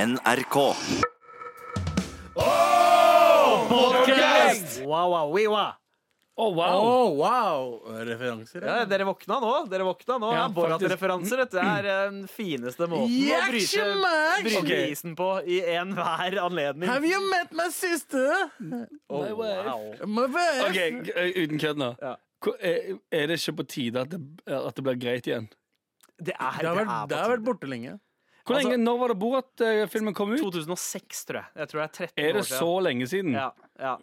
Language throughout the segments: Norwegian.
NRK. Wow, wow, we, wow. Oh, wow. Oh, wow! Referanser? Ja, dere våkna nå. Dere våkna nå. Ja, Borat-referanser. Dette er eh, den fineste måten å bryte, Jaksjemax! bryte Ok. isen på i enhver anledning. Have you met my sister? Oh, wife? wow. My wife. OK, g- eh, uten kødd nå. Ja. Hvor- Er er det ikke på tide at det, at det blir greit igjen? Det er, Det har vært, det det har er vært borte lenge. Hvor Altså- lenge, Når var det Borat-filmen kom på ut? tide. 2006, tror jeg. Jeg tror det er 13 Er det år så lenge siden? Ja, ja.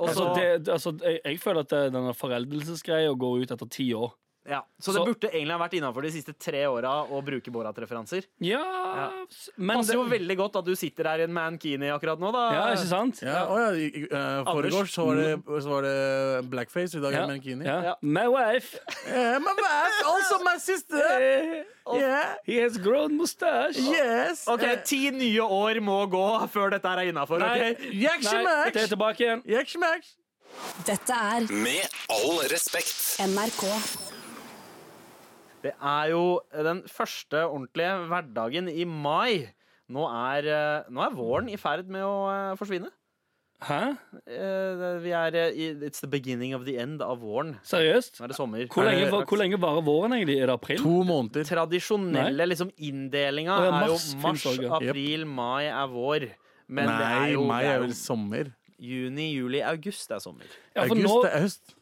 Og Altså, så- det, det- altså, jeg, jeg føler at det- denne foreldelsesgreia går ut etter ti år. ja. Så det så- burde egentlig ha vært innafor de siste tre åra å bruke Borat-referanser. Ja, s- men Passer jo det- veldig godt at du sitter her i en mankini akkurat nå, da. Ja, ikke sant? Ja, å ja, i- i- eh, Foregårs så, var det- så var det blackface, i dag er det mankini. Ja. Ja. My wife, Eh, my wife, also my sister! eh, Yeah, he has grown mustache. yes! OK, Eh, ti nye år må gå før dette her er innafor. Nei, nei, Jaksjemax! det er tilbake igjen. Jaksjemax! Dette er Med all respekt. NRK. Det er jo den første ordentlige hverdagen i mai. Nå er, eh, nå er våren i ferd med å eh, forsvinne. Hæ? Eh, det- Vi er eh, i It's the beginning of the end av våren. Seriøst? Nå er det sommer. Hvor Er lenge, det- var- hvor lenge varer våren egentlig? Er det april? To måneder. Tradisjonelle Nei. liksom, inndelinga Å ja, er mars jo finnes mars, også, ja. Jep. april, mai er vår. Men det Nei, er jo, mai det er er vel jo sommer. juni, juli, august er sommer. Ja, for August nå, det er høst.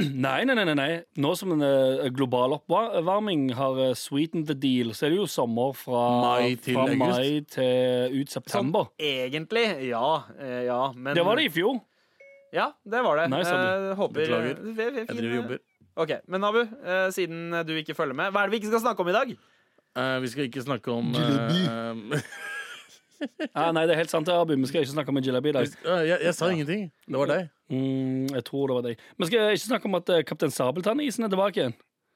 Nei, nei, nei, nei, nei. Nå som en eh, global oppvarming har eh, sweetened the deal, så er det jo sommer fra Mai til fra august. mai til ut september. Sånn. Egentlig, ja. eh, ja men, Det var det i fjor. Ja, det var det. Nei, Sander. Eh, håper Beklager. Vi- vi- vi- Jeg driver og jobber. Ok, Men Abu, eh, siden du ikke følger med, hva er det vi ikke skal snakke om i dag? Eh, vi skal ikke snakke om eh, Ah, nei, det er helt sant, det, Abu. Vi skal ikke snakke om en jalebi i eh, dag. eh, jeg, jeg sa ingenting. Det var deg. Mm, jeg tror det var deg. Vi skal ikke snakke om at eh, Kaptein Sabeltann-isen er tilbake igjen.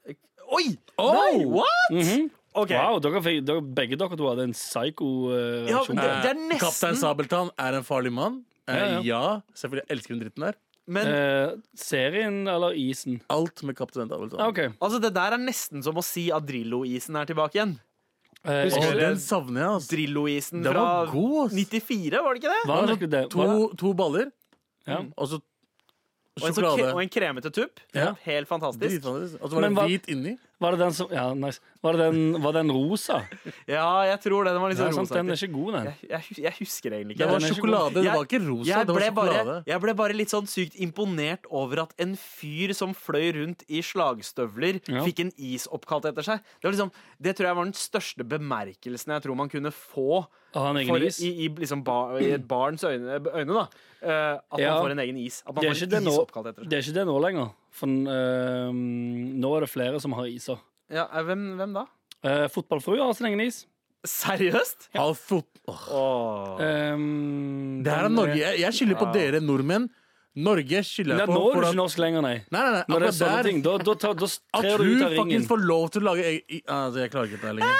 Mhm. Oi! Nei, what?! Ok. Wow, dere, fikk- dere, begge dere to hadde en psycho eh, Ja, reaksjon. det- det er Eh, nesten- Kaptein Sabeltann er en farlig mann. Eh, Ja, ja. ja, selvfølgelig. Jeg elsker den dritten der. Men Eh, serien eller isen? Alt med Kaptein Sabeltann. Ah, OK. altså, det der er nesten som å si at Drillo-isen er tilbake igjen. Eh, Åh, Husker jeg- du- den savner jeg. Altså. Drillo-isen Den fra var god. ass. 94, var det ikke det? hva er det- det- To, hva- to baller, Mm. ja. og så Og en, så sjokolade. kre- og en kremete tupp. Ja. Helt fantastisk. Dritfantastisk. Og så var det Men hva- hvit inni. Var det den som Ja, nice. Var det den, var den rosa? Ja, jeg tror det. Den var litt Ja, sånn sant, den er rosa. ikke god, den. Jeg, jeg, hus- jeg husker egentlig ikke. Det den var er ikke sjokolade, det var ikke rosa. jeg det var ble, bare, sjokolade. jeg ble bare litt sånn sykt imponert over at en fyr som fløy rundt i slagstøvler, Ja. fikk en is oppkalt etter seg. Det, var liksom, det tror jeg var den største bemerkelsen jeg tror man kunne få Å ha en egen for, is? I, i, liksom bar, i et barns øyne, øyne da. eh, at Ja. man får en egen is. At man Det får er, ikke en det, is nå, oppkalt etter seg. det er ikke det nå lenger. For eh, nå er det flere som har iser. Ja, eh, hvem, hvem da? Uh, Fotballfrue har sin egen is. Seriøst? Halv fot. Åh. Åh. Um, Det her er Norge. Jeg, jeg skylder på dere nordmenn. Norge Nei, skylder jeg nå på. er for du at- ikke norsk lenger, nei. Nei, nei, Når nei, det er akkurat sånne der. ting, da, da, tar- da At trer du ut hun av ringen. faktisk får lov til å lage egen i- Altså, jeg klager ikke på det lenger.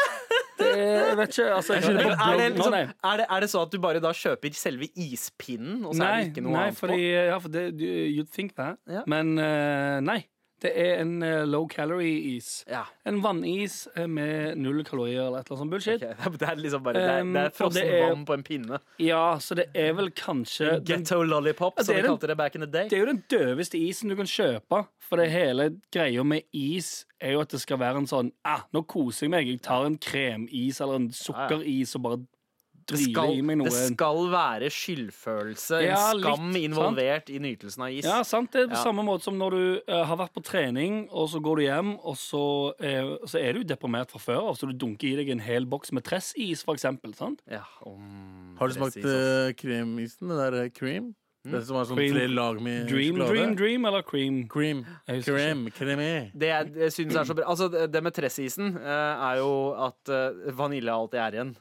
Det, jeg vet ikke, altså jeg, Jeg skylder Men på er det, Nå, liksom, nei. er, det, er det så at du bare da kjøper selve ispinnen, og så er det ikke Nei, noe nei annet fordi, eh, ja, for det, du, you'd think that. Ja. Men eh, nei. Det er en eh, low calorie-is. på? Ja. En vannis eh, med null kalorier eller et eller annet sånt Ok, bullshit. det er- Det er liksom bare Det er, Um, det er og frossen det er- vann på en pinne. Ja, så det er vel kanskje den, Ghetto lollipop, Ja, som det vi er den- kalte det back in the day. Det er jo den døveste isen du kan kjøpe. For det hele greia med is er jo at det skal være en sånn ah, Nå koser jeg meg. Jeg tar en kremis eller en sukkeris og bare Det driver skal, i meg noe. det skal være skyldfølelse, en Ja, litt, skam sant? involvert i nytelsen av is. Ja, sant. Det er på Ja. samme måte som når du eh, har vært på trening, og så går du hjem, og så, eh, så er du deprimert fra før av, så du dunker i deg en hel boks med tressis, for eksempel. Sant? Ja, om- altså. Har du smakt Precis, ass. eh, kremisen? Det der eh, cream? Det som er sånn Mm. Cream. tre lag med Dream, sjokolade? dream, dream eller cream? Cream. Jeg husker Krem. Kremé. Det jeg jeg synes er så bra Altså, det det med tressisen eh, er jo at eh, vanilje alltid er igjen.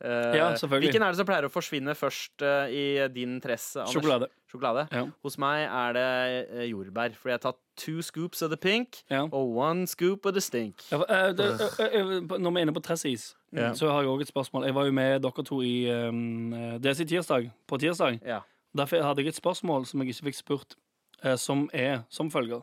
Eh, Ja, selvfølgelig. Hvilken er det som pleier å forsvinne først eh, i din tress? Anders? Sjokolade. Sjokolade. Ja. Hos meg er det eh, jordbær, fordi jeg har tatt two scoops of the pink Ja. og one scoop of the stink. Ja, for, eh, det, eh, eh, når vi er inne på tressis, Ja. så har jeg òg et spørsmål. Jeg var jo med dere to i eh, DC tirsdag, på tirsdag. Ja. Derfor hadde jeg et spørsmål som jeg ikke fikk spurt, eh, som er som følger.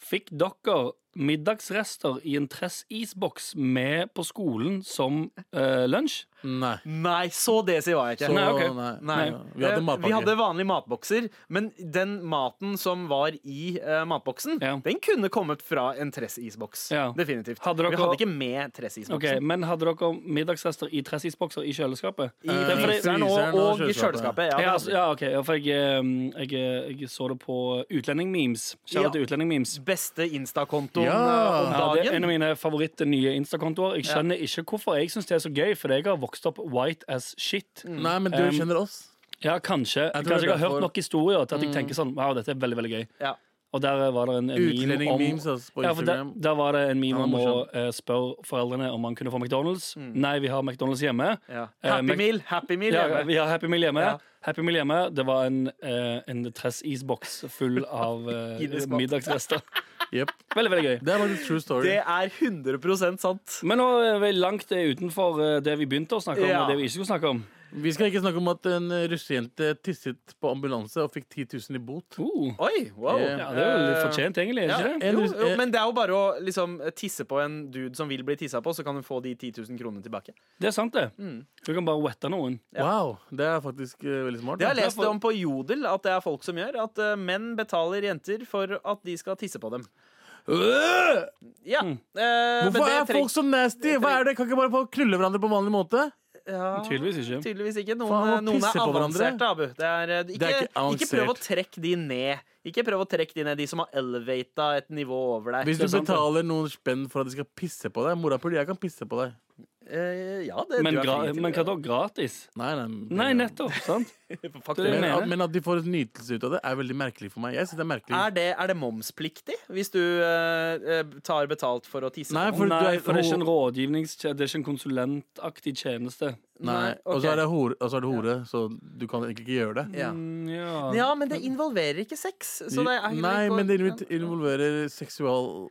Fikk dere middagsrester i en Tress-isboks med på skolen som eh, lunsj. Nei. Nei, så det sier jeg ikke. Så, Nei, nei, ok. Nei. Eh, Vi hadde matpakke. Vi hadde vanlige matbokser, men den maten som var i eh, matboksen, Ja. den kunne kommet fra en Tress-isboks. Ja. Definitivt. Hadde dere- Vi hadde ikke med Tress-isboksen. Ok, Men hadde dere middagsrester i Tress-isbokser i kjøleskapet? I Eh, fryseren og, fryseren og og i kjøleskapet. Ja, det Ja, hadde altså, ja ok, ja, for jeg, eh, jeg, jeg så det på utlendingmemes. Kjære Ja. til utlendingmemes. vi. Beste Insta-kontoen Ja. eh, om Ja, det er en dagen. av mine favoritter nye Insta-kontoer. Jeg skjønner ikke hvorfor jeg syns det er så gøy, for jeg har vokst opp white as shit. Nei, men du Um, kjenner oss. Ja, kanskje. Mm. kanskje Jeg tror det er jeg har hørt derfor- nok historier til at jeg tenker sånn Wow, dette er veldig, veldig gøy. Ja. Og der eh, var det en, en meme om Utlending-memes altså, på ja, for der, Instagram. der var det en meme Han om er å eh, spørre foreldrene om man kunne få McDonald's. Nei, vi har McDonald's hjemme. Ja. Eh, Happy Mac- meal, happy meal. Ja, hjemme. vi har Happy Meal hjemme. Ja. Happy Meal hjemme Det var en, eh, en Tress-isboks full av eh, Guinness-mat. middagsrester. Jep. Veldig, veldig gøy. Det er faktisk true story. Det er 100 sant. Men nå er vi langt eh, utenfor eh, det vi begynte å snakke om, Ja. og det vi ikke skulle snakke om. Vi skal ikke snakke om at en eh, russejente tisset på ambulanse og fikk 10 000 i bot. Uh, Oi, wow. ja, det er jo litt Eh, fortjent, egentlig. er Ja, ikke det? En jo, rus- jo, eh, men det er jo bare å liksom, tisse på en dude som vil bli tissa på, så kan hun få de 10 000 kronene tilbake. Det er sant, det. Du kan bare wette noen. Wow, det er faktisk eh, veldig smart. Det har da. jeg lest om på Jodel, at det er folk som gjør at eh, menn betaler jenter for at de skal tisse på dem. Øh! Ja. eh, men Hvorfor det er treng- folk så nasty? Hva er det? Kan ikke bare folk knulle hverandre på vanlig måte? ja, Tydeligvis ikke. Tydeligvis ikke. Noen, Faen, eh, å noen pisse er på hverandre. avanserte, Abu. Det er, eh, ikke, er ikke ikke, prøv å avansert. trekke de ned. Ikke prøv å trekke de ned, de som har elevata et nivå over deg. Hvis du er sant, det. betaler noen spenn for at de skal pisse på deg Morapuler, jeg kan pisse på deg. Eh, ja, det Men, du er gra fri til men det. hva da? Gratis? Nei, nei, Nei, nettopp. sant? Fuck det. Det jeg Men, mener. at, men at de får en nytelse ut av det, er veldig merkelig for meg. Jeg synes det er merkelig Er det, er det momspliktig hvis du eh, eh, tar betalt for å tisse? Nei, på for, Nei, du er, for det er ikke en rådgivnings... Det er ikke en konsulentaktig tjeneste. noen? Nei, Og ok. så er det hore, og så er det hore så du kan egentlig ikke gjøre det. ja. Mm, ja. ja, men det involverer ikke sex. Så det er heller Nei, ikke- men det invit- involverer seksual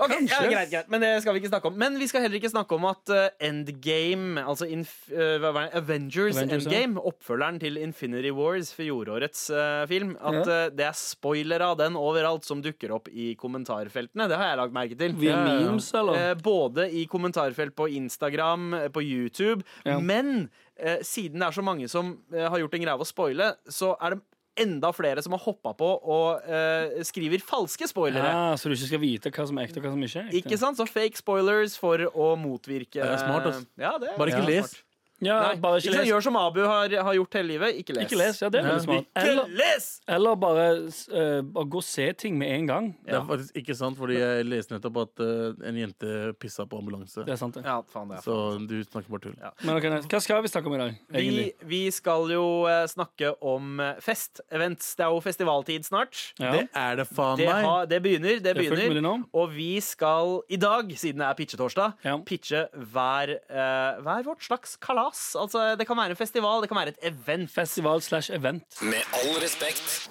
Ok, ja, Kanskje. greit, greit, men det skal vi ikke snakke om. Men vi skal heller ikke snakke om at eh, Endgame, altså inf, eh, hva var det? Avengers, Avengers, ja. Endgame, oppfølgeren til Infinity Wars for fjorårets eh, film, at eh, det er spoilere av den overalt som dukker opp i kommentarfeltene. Det har jeg lagt merke til. Via Ja, ja, ja. memes, eller? Eh, både i kommentarfelt på Instagram, eh, på YouTube. Ja. Men eh, siden det er så mange som eh, har gjort en greie av å spoile, så er det enda flere som har hoppa på og eh, skriver falske spoilere. Ja, så du ikke skal vite hva som er ekte og hva som ikke er ekte? Ikke sant? Så fake spoilers for å motvirke Det er smart, ass. Ja, det er Bare ikke smart. les. Ja, Nei, bare ikke ikke sant, les. Gjør som Abu har, har gjort hele livet. Ikke les. Ikke les, ja, det er Ja. veldig smart. Ikke Eller, les! eller bare, eh, bare gå og se ting med en gang. Det er faktisk ikke sant, fordi jeg leste nettopp at eh, en jente pissa på ambulanse. Det er sant, det. Ja, faen det er. Så du snakker bare tull. Ja. Men ok, nei, hva skal vi snakke om i dag, Vi, egentlig? vi skal jo eh, snakke om eh, fest. Events. Det er jo festivaltid snart. Ja. Det er det faen Det, meg! har, det begynner. Det er fullt mulig begynner. nå. Og vi skal i dag, siden det er pitchetorsdag, Ja. pitche hver, eh, hver vårt slags kalas. Altså, det kan være en festival, det kan være et event. Festival slash event. Med all respekt.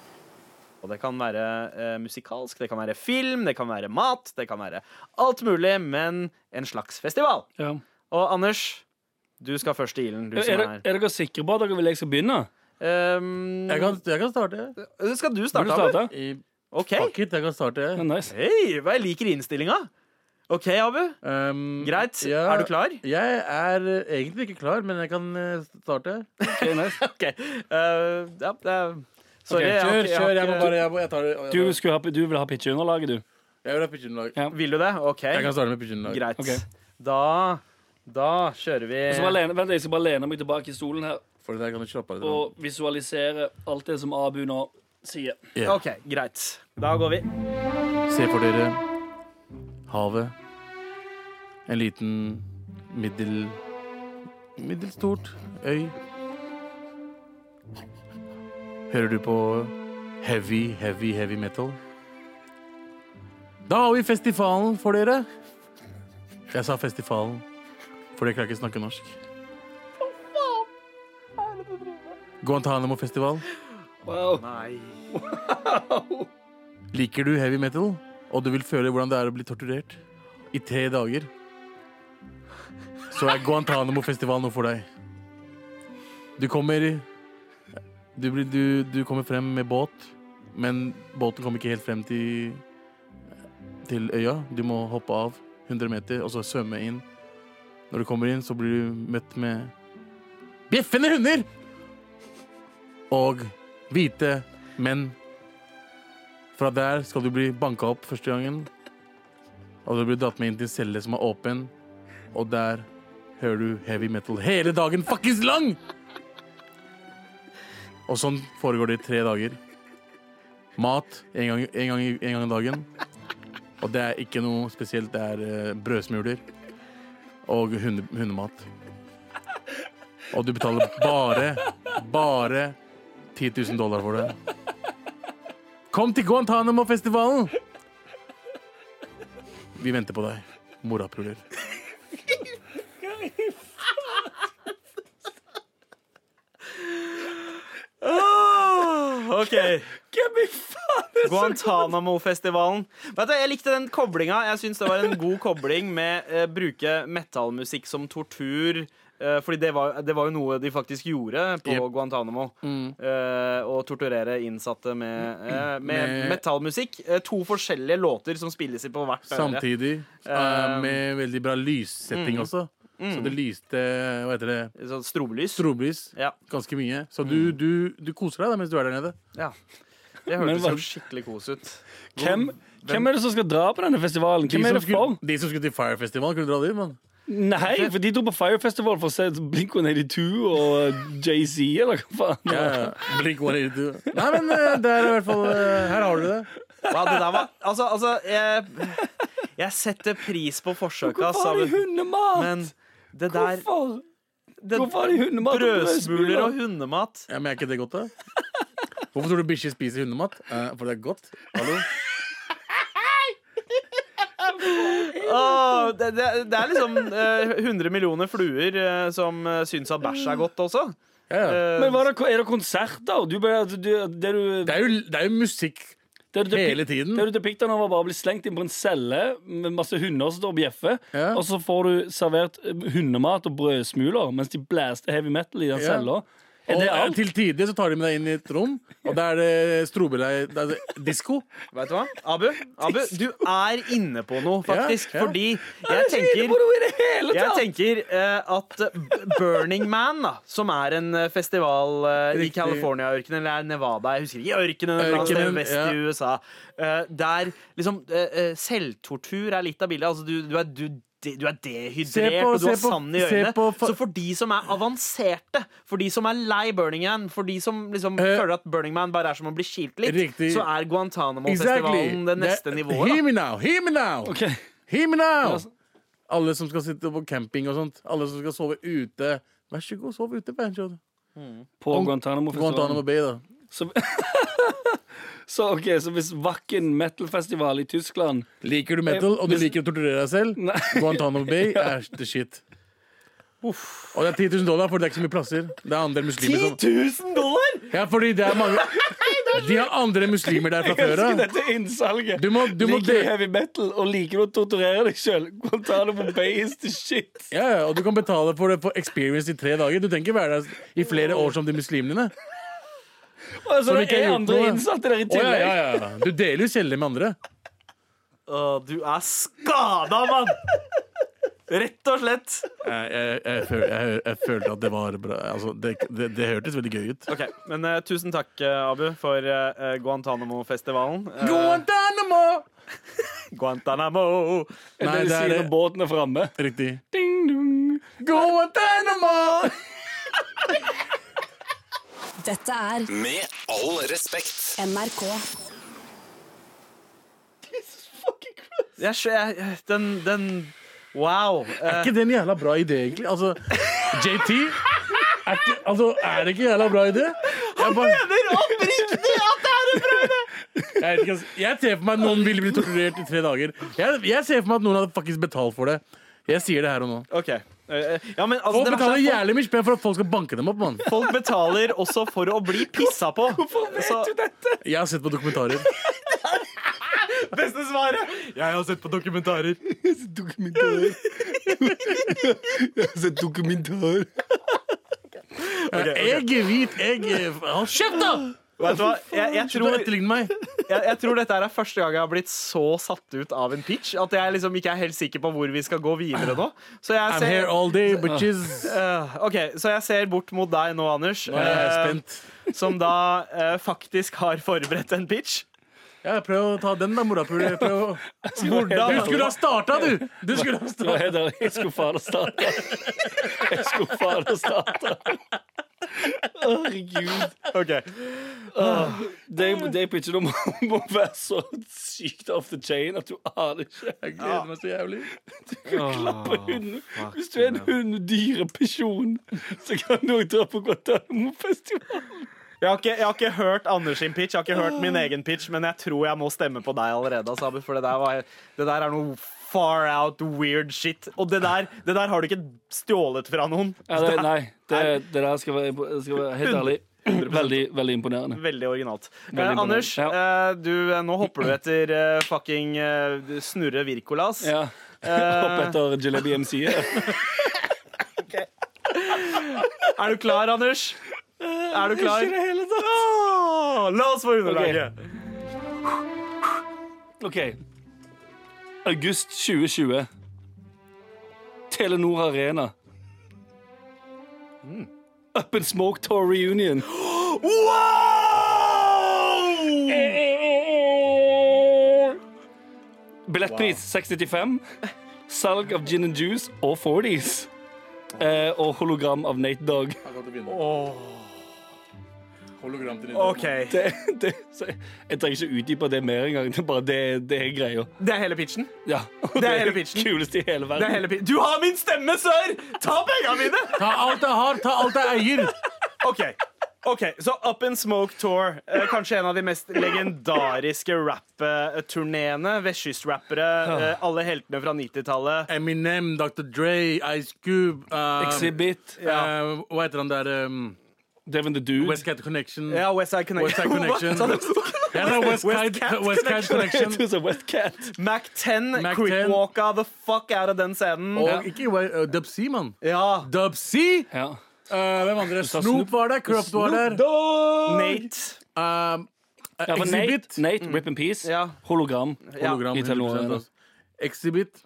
Og det kan være eh, musikalsk, det kan være film, det kan være mat, det kan være alt mulig, men en slags festival. Ja. Og Anders, du skal først i ilden, du Er, som dere- er er dere sikre på at dere vil jeg skal begynne? Ehm, Jeg kan, jeg kan starte. Skal du Vil starte, du Abu? starte? I OK. fuck it, jeg kan starte. Ja, nice. Hei, hva jeg liker innstillinga. OK, Abu. Um, Greit. ja, Er du klar? Jeg er eh, egentlig ikke klar, men jeg kan eh, starte. Ok, nice. OK. Eh, ja, det er Sorry. Ok, jeg har Kjør, ikke- jeg kjør. har Jeg må ikke- bare Jeg, må, jeg tar det. Du, Jeg, tar det. skulle ha, du vil ha pitcheunderlaget, du. jeg vil ha pigeonlag. Ja. Vil du det? OK. Jeg kan starte med pigeonlag. Greit. Ok. Da Da kjører vi Og så bare lene, vent, jeg skal bare lene meg tilbake i stolen her For det der kan du slappe av litt. og visualisere alt det som Abu nå sier. Ja. OK, greit. Da går vi. Se for dere havet. En liten middel... Middels stort øy. Hører du på heavy, heavy, heavy metal? Da har vi festivalen for dere. Jeg sa festivalen, for dere klarer ikke snakke norsk. Guantánamo-festival. Wow. Nei. Liker du heavy metal, og du vil føle hvordan det er å bli torturert i tre dager, så er Guantánamo-festival noe for deg. Du kommer du, blir, du, du kommer frem med båt, men båten kommer ikke helt frem til til øya. Du må hoppe av 100 meter og så svømme inn. Når du kommer inn, så blir du møtt med bjeffende hunder! Og hvite menn. Fra der skal du bli banka opp første gangen. Og du blir dratt med inn til en celle som er åpen, og der hører du heavy metal hele dagen fuckings lang! Og sånn foregår det i tre dager. Mat en gang, en gang, i- en gang i dagen. Og det er ikke noe spesielt. Det er eh, brødsmuler og hunde, hundemat. Og du betaler bare, bare 10 000 dollar for det. Kom til Guantánamo-festivalen! Vi venter på deg, morapuler. OK. Hvem i faen er Guantánamo-festivalen. Vet du, Jeg likte den koblinga. Jeg syns det var en god kobling med eh, bruke metallmusikk som tortur. Eh, fordi det var, det var jo noe de faktisk gjorde på Jep. Guantánamo. Mm. Eh, å torturere innsatte med, eh, med Med- metallmusikk. Eh, to forskjellige låter som spilles i på hvert øre. Samtidig eh, med veldig bra lyssetting også. Så det lyste Hva heter det? Sånn strobelys. Strobelys Ja, ganske mye. Så du, du, du koser deg da mens du er der nede. ja. Det Men hørtes hva- jo skikkelig kos ut. Hvem, hvem er det som skal dra på denne festivalen? Hvem er det for? skulle, de som skulle til Fire Festival, kunne dra dit, mann. Nei, for de dro på Fire Festival for å se Blink-182 og Jay-Z, eller hva faen. Ja, ja. Blink 182. Nei, men eh, det er i hvert fall eh, Her har du det. Wow, det der var Altså, altså jeg, jeg setter pris på forsøka, Hvorfor har de sammen, hundemat? men det der Hvorfor? det, Hvorfor har de hundemat og Brødsmuler brødsmuler? og hundemat. Ja, men er ikke det godt, da? Hvorfor tror du bikkjer spiser hundemat? Eh, for det er godt. Hallo? Åh, det, det, det er liksom eh, 100 millioner fluer eh, som eh, syns at bæsj er godt også. Ja, ja. Eh, Men hva er det, er det konserter? Du, bare- du, det du, Det er jo, det er jo musikk det du hele depik- tiden. Det du depikter nå, var bare å bli slengt inn på en celle med masse hunder som står og bjeffer, Ja. og så får du servert eh, hundemat og brødsmuler mens de blæster heavy metal i den Ja. cella. Er det og, eh, alt? Til tider så tar de med deg inn i et rom, og da er det strobeleir Det er disko. Vet du hva? Abu, Abu, du er inne på noe, faktisk. Ja, ja. Fordi jeg Ikke på tenker noe i det hele jeg tatt! tenker eh, at B- Burning Man, da, som er en eh, festival eh, i Riktig. California-ørkenen, eller er Nevada, jeg husker ikke, i ørkenen et eller annet Ørkenen, sted vest ja. i USA, eh, der liksom eh, eh, selvtortur er litt av bildet. Altså, du, du er du, du er dehydrert, Se på- og du har se på- sand i se øynene. på fa- Så for de som er avanserte, for de som er lei Burning Man, for de som liksom Eh, føler at Burning Man bare er som å bli kilt litt, riktig. så er Guantánamo-festivalen det neste nivået. Hear Da. me now! Hear me now! Ok. Hear me now! altså- Alle som skal sitte på camping og sånt. Alle som skal sove ute. Vær så god, sov ute. Banjo. På Guantánamo-festivalen. Guantánamo Bay, da. Så, så ok, så hvis Wacken metal-festival i Tyskland Liker du metal, og du liker å torturere deg selv, Nei. Guantánamo Bay er the shit. Og det er 10 000 dollar, for det er ikke så mye plasser. Det er andre muslimer som 1000 dollar! Ja, fordi det er mange De har andre muslimer der fra før Elsker av. dette innsalget. Du må, du må liker de, du heavy metal og liker du å torturere deg sjøl? Guantánamo Bay is the shit. ja, ja, og du kan betale for det på experience i tre dager. Du trenger ikke være der i flere år som de muslimene. Altså, Som det ikke har er gjort andre noe. innsatte der i Å, ja, tillegg. ja, ja. Du deler jo kjeller med andre. Åh, du er skada, mann! Rett og slett. Jeg, jeg, jeg, føl, jeg, jeg følte at det var bra. Altså, det, det, det hørtes veldig gøy ut. Ok, men eh, Tusen takk, eh, Abu, for uh, Guantánamo-festivalen. Eh, Guantánamo! Guantánamo! Det Nei, vil det si er når båten er framme. riktig. Ding, dong. Guantánamo! Dette er Med all respekt. NRK. Jeg, skjø- jeg, den, den Wow. Er Eh, ikke det en jævla bra idé, egentlig? Altså, JT er, ikke, altså, er det ikke en jævla bra idé? Jeg bare, mener oppriktig at det er en bra idé! jeg, vet ikke, altså. jeg ser for meg at noen vil bli torturert i tre dager. Jeg, jeg ser for meg at noen hadde faktisk betalt for det. Jeg sier det her og nå. Ok. eh, ja, men altså, det Folk verste betaler er at jævlig mye spenn for at folk skal banke dem opp, mann. folk, folk betaler også for å bli pissa på. Hvorfor vet Så, du det? Jeg har sett på dokumentarer. Beste svaret! Jeg har sett på dokumentarer. Dokumentar. altså, dokumentar. Jeg vet, jeg Hold kjeft, da! Vet du hva? Jeg, jeg Slutt å tror etterligne meg. jeg, jeg tror dette her er første gang jeg har blitt så satt ut av en pitch at jeg liksom ikke er helt sikker på hvor vi skal gå videre nå. Så jeg I'm here ser, all day, bitches. Øh, ok, så jeg ser bort mot deg nå, Anders, Nå er jeg eh, spent. som da eh, faktisk har forberedt en pitch. Ja, prøv å ta den, da, morapule. Prøv å- Hvordan? Du skulle ha starta, du! Du skulle ha Det var starta. helt ærlig, Jeg skulle faen å starte. Jeg skulle faen å starte. Herregud. Ok. Det, det pitchet nå må, må være så sykt off the chain at du aner ikke. Jeg gleder meg så jævlig. Klappe hunden. Hvis du er en hundedyrepisjon, så kan du òg dra på Guantánamo-festival. Jeg har, ikke, jeg har ikke hørt Anders sin pitch, jeg har ikke hørt min egen pitch, men jeg tror jeg må stemme på deg allerede, altså, Abu, for det der, var, det der er noe far out weird shit. Og det der, det der har du ikke stjålet fra noen. Ja, det, nei, det, det der skal være, skal være helt ærlig. Veldig, veldig imponerende. Veldig originalt. Eh, imponerende. Anders, Ja. eh, du, eh, nå hopper du etter eh, fucking eh, Snurre Virkolas. Ja. Hopp etter Jalebi MC. Er du klar, Anders? Er du klar? Ikke i det hele tatt. Åh, Ah, la oss få underlaget. OK. August 2020. Telenor Arena. Mm. Up in Smoke Tour Reunion. Eh, Billettpris 695. Salg av gin and juice og 40s. Eh, og hologram av Nate Dog. Hologram til OK. Det, det, så jeg, jeg trenger ikke utdype det mer engang. Det er bare det, det er greia. Det er hele pitchen? Ja. er hele pitchen. Kuleste i Det hele er verden. hele pi- du har min stemme, sør! Ta penga mine! Ta alt jeg har, ta alt jeg eier. OK. ok, Så Up in Smoke Tour, eh, kanskje en av de mest legendariske rap-turneene. Vestkystrappere, eh, alle heltene fra 90-tallet. Eminem, Dr. Dre, Ice Cube eh, Exhibit. Um, eh, Hva heter han der um, Devin the Dude. Westcat Connection. Ja, Westside West Side Connection. Hva Connection. sa du? Jeg sa Westcat West Connection. It was a wet cat. Mac 10 Mac 10. creepwalka the fuck out av den scenen. Og ikke uh, Dub C, mann. Ja. Dub C! Ja. Eh, hvem andre? sa Snoop Snoop. var der. Cropped var der. Nate. Um, eh, Ja, for Exhibit. Nate, Nate, rip in peace. Mm. Ja. Hologram. Ja. Hologram, i Telenor 100% Arena. altså. Exhibit.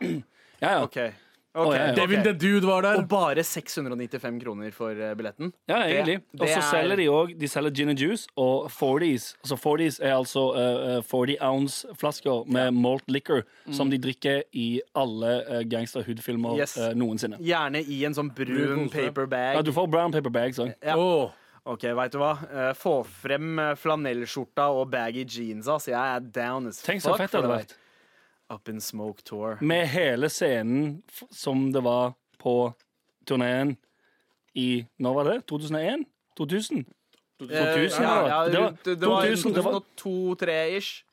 Ja, ja. OK. ok, Å, ja, ja. ok. Devin the Dude var der. Og bare 695 kroner for eh, billetten. ja egentlig. det Og så er- selger de òg De selger gin and juice og 40s. Altså 40s er altså eh, eh, 40 ounce-flasker med malt liquor Mm. som de drikker i alle eh, gangster hood-filmer Yes. eh, noensinne. Gjerne i en sånn brun Brun pose. paper bag. Ja, du får brown paper bags òg. Ja. Åh, Ok, vet du hva? Eh, Få frem eh, flanellskjorta og baggy jeans, ass. Jeg er down as Tenk så fuck fett for det hadde det vært. Mm, der. Up in Smoke Tour. Med hele scenen f som det var på turneen i Når var det? 2001? 2000? Eh, 2000 ja, var det. ja, Det var- rundt- det var Mm. 2000, det var- 2002-2003-ish.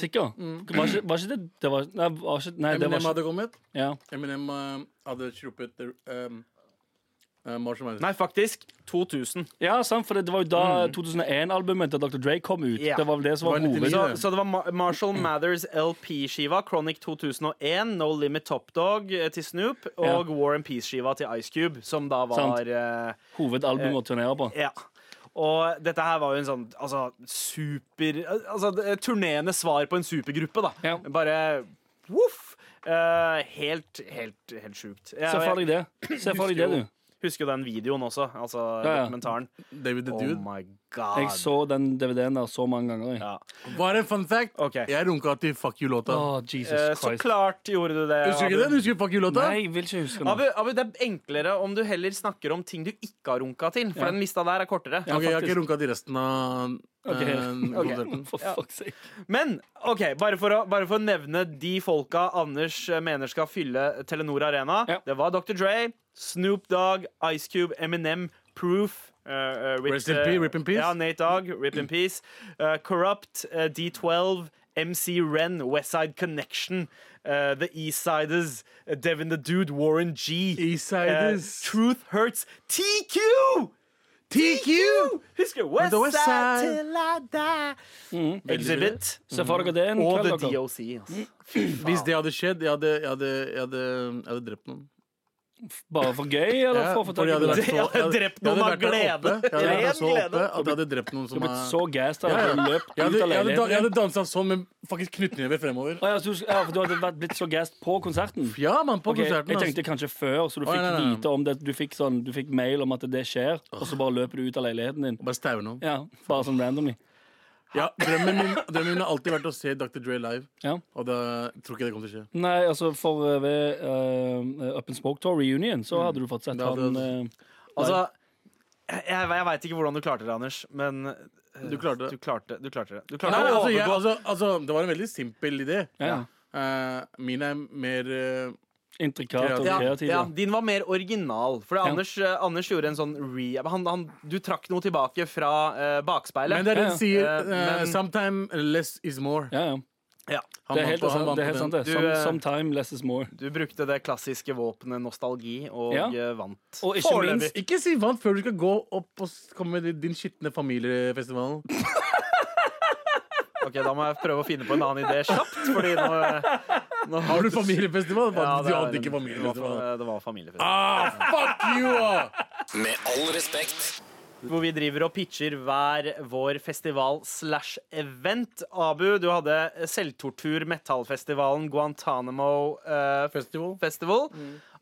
Sikker? Var, ikke, var ikke det det var, Nei, var ikke, nei det var Eminem ikke hadde kommet. ja. Eminem eh, hadde sluppet eh, um, eh, Marshall Mathers. Nei, faktisk 2000. Ja, sant, for det var jo da 2001-albumet til Dr. Dre kom ut. Mm. Ja. Det var vel det som var Det var hoved... 99. Så, så det var Ma- Marshall Mathers LP-skiva, Chronic 2001, No Limit Top Dog eh, til Snoop, og War and Peace-skiva til Ice Cube, som da Sant. var eh, hovedalbum å turnere på. Ja. Og dette her var jo en sånn altså, super Altså turnerende svar på en supergruppe, da. Ja. Bare voff! Eh, helt, helt, helt sjukt. Jeg, Se for deg det, Se for deg det du. husker jo den videoen også. Altså Ja, ja. dokumentaren. David the Oh Dude. my god. Jeg så den DVD-en der så mange ganger. jeg. Ja. Bare en fun fact. Ok. Jeg runka til Fuck You-låta. Åh, Jesus Eh, så Christ. klart gjorde du det. Husker du ikke Abu. den? Husker du Fuck You-låta? Nei, jeg vil ikke huske Abu, noe. Abu, det er enklere om du heller snakker om ting du ikke har runka til. For Ja. den lista der er kortere. Ok, Jeg har faktisk. ikke runka til resten av eh, Ok. konserten. For fuck's sake. Men ok, bare for, å, bare for å nevne de folka Anders eh, mener skal fylle Telenor Arena. Ja. Det var Dr. Dre, Snoop Dogg, Ice Cube, Eminem, Proof. eh, eh, Rich- Rest in peace, rip in peace. Ja, Nate Dogg, Rip in Peace. eh, Corrupt, eh, D12, MC Ren, Westside Connection, eh, The Eastsiders, eh, Devin the Dude, Warren G. Eastsiders. eh, Truth Hurts, TQ! TQ! Husker du? The Westside Westside. till I die. Exhibit. Se for dere det en Og The kveld. dere. DOC. Altså. Hvis det hadde skjedd, jeg hadde, jeg hadde, jeg hadde, jeg hadde drept noen. Bare for gøy, eller for å få tak i fordi det? vært- Jeg hadde drept noen av glede. Jeg hadde vært så Ren glede. oppe at jeg hadde drept noen Du som har blitt så er gassed at Ja, ja. du har løpt ut av Jeg hadde, jeg hadde, jeg leiligheten. hadde dansa sånn med faktisk knyttneve fremover. Å, ja, så du- ja, for du hadde vært- blitt så gassed på konserten? Ja, mann, på Ok, konserten. altså. Jeg ass. tenkte kanskje før, så du Å, fikk nei, nei, nei. vite om det. Du fikk, sånn, du fikk mail om at det skjer, og så bare løper du ut av leiligheten din. Bare staue noen. Ja, Bare sånn randomly. Ja, drømmen, min, drømmen min har alltid vært å se Dr. Dre live, Ja. og da tror ikke det kommer til å skje. Nei, altså for eh, ved eh, Up and Smoke Tour Reunion så hadde du fått sett Mm. Ja, det- han eh, Altså, jeg, jeg veit ikke hvordan du klarte det, Anders, men eh, Du klarte det. Du klarte, du klarte det. Du Nei, klarte å altså, jeg, overgå- altså, altså, det var en veldig simpel idé. ja, Eh, min er mer eh, Intrikat og ja, kreativ. ja, din var mer original. For Anders, eh, Anders gjorde en sånn re... Han, han, du trakk noe tilbake fra eh, bakspeilet. Men det er det Ja, den sier. Eh, eh, men- Sometime less is more. Ja, ja. ja, Han Det er vant helt på- han sant, vant det. Er på helt den. sant, det. Du, Some, eh, sometime less is more. du brukte det klassiske våpenet nostalgi og Ja. eh, vant. Og ikke Foreløpig. minst- Ikke si vant før du skal gå opp og s- komme med din skitne familiefestival. Ok, Da må jeg prøve å finne på en annen idé kjapt. Fordi nå, nå Har du familiefestival? Ja, du det er- hadde ikke Det var, familiefestival. det var familiefest. Ah, fuck you! ah! Med all respekt. Hvor vi driver og pitcher hver vår festival slash event. Abu, du hadde selvtortur metallfestivalen Guantánamo eh, Festival. Festival.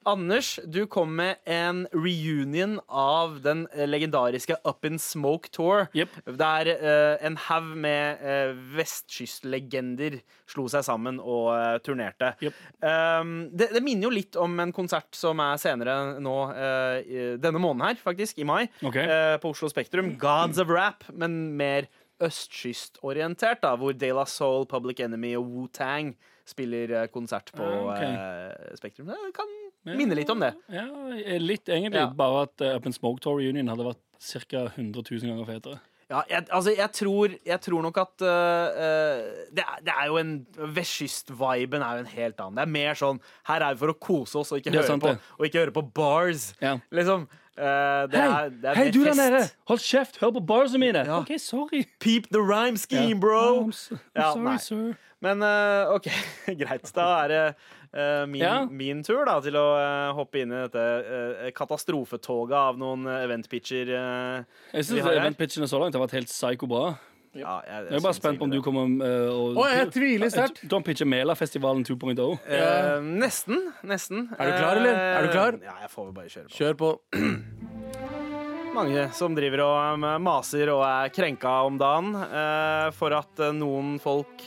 Anders, du kom med en reunion av den legendariske Up in Smoke Tour. Jep. Der eh, en haug med eh, vestkystlegender slo seg sammen og eh, turnerte. Jep. Um, det, det minner jo litt om en konsert som er senere nå eh, i- denne måneden her, faktisk, i mai. Ok. eh, på Oslo Spektrum. Gods of Rap, men mer østkystorientert, da, hvor De La Soul, Public Enemy og Wu-Tang spiller eh, konsert på Ah, ok. eh, Spektrum. Det kan minne litt om det. Ja, eh, litt egentlig. Ja. Bare at eh, Up and Smoke Tour Reunion hadde vært ca. 100 000 ganger fetere. Ja, jeg, altså, jeg, tror, jeg tror nok at øh, øh, det, er, det er jo en Vestkyst-viben er jo en helt annen. Det er mer sånn Her er vi for å kose oss og ikke, Det er høre, sant, på, det. og ikke høre på bars. Ja. Liksom. Øh, det er, det er mer fest. Hold kjeft! Hør på barsa mine! Ja. OK, sorry. Peep the rhyme scheme, bro! I'm s- I'm Ja, sorry, nei. sir. Men øh, OK, greit. Da er det øh, min, Ja. min tur da til å øh, hoppe inn i dette øh, katastrofetoget av noen øh, eventpitcher. øh. Jeg Vi syns har her. eventpitchene så langt har vært helt psyko bra. ja, jeg, Jeg er bare synes spent på om egentlig du kommer eh, og Å, jeg tviler sterkt. Du har pitcha Melafestivalen oh. 2.0. det. Øh, nesten. Nesten. Eh, Er du klar, eller? Er du klar? Ja, jeg får vel bare kjøre på. Kjør på. Mange som driver og um, maser og er krenka om dagen eh, for at eh, noen folk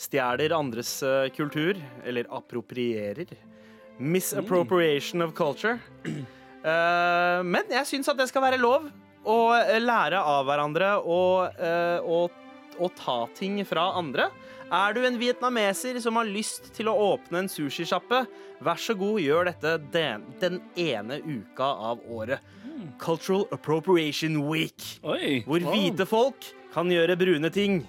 stjeler andres eh, kultur, eller approprierer. Misappropriation of culture. Eh, men jeg syns at det skal være lov å eh, lære av hverandre og, eh, og, og ta ting fra andre. Er du en vietnameser som har lyst til å åpne en sushisjappe, vær så god, gjør dette den, den ene uka av året. Cultural Appropriation Week. Oi. Hvor hvite folk kan gjøre brune ting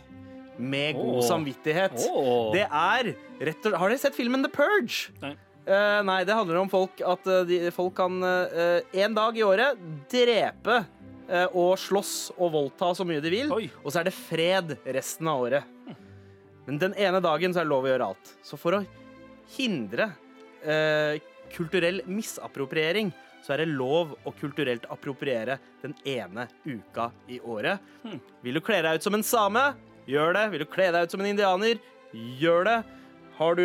med god Åh. samvittighet. Åh. Det er rett og Har dere sett filmen The Purge? Nei. Eh, nei, det handler om folk at eh, de, folk kan eh, en dag i året drepe eh, og slåss og voldta så mye de vil, Oi. Hm. og så er det fred resten av året. Men den ene dagen så er det lov å gjøre alt. Så for å hindre eh, kulturell misappropriering, så er det lov å kulturelt appropriere den ene uka i året. Vil du kle deg ut som en same? Gjør det. Vil du kle deg ut som en indianer? Gjør det. Har du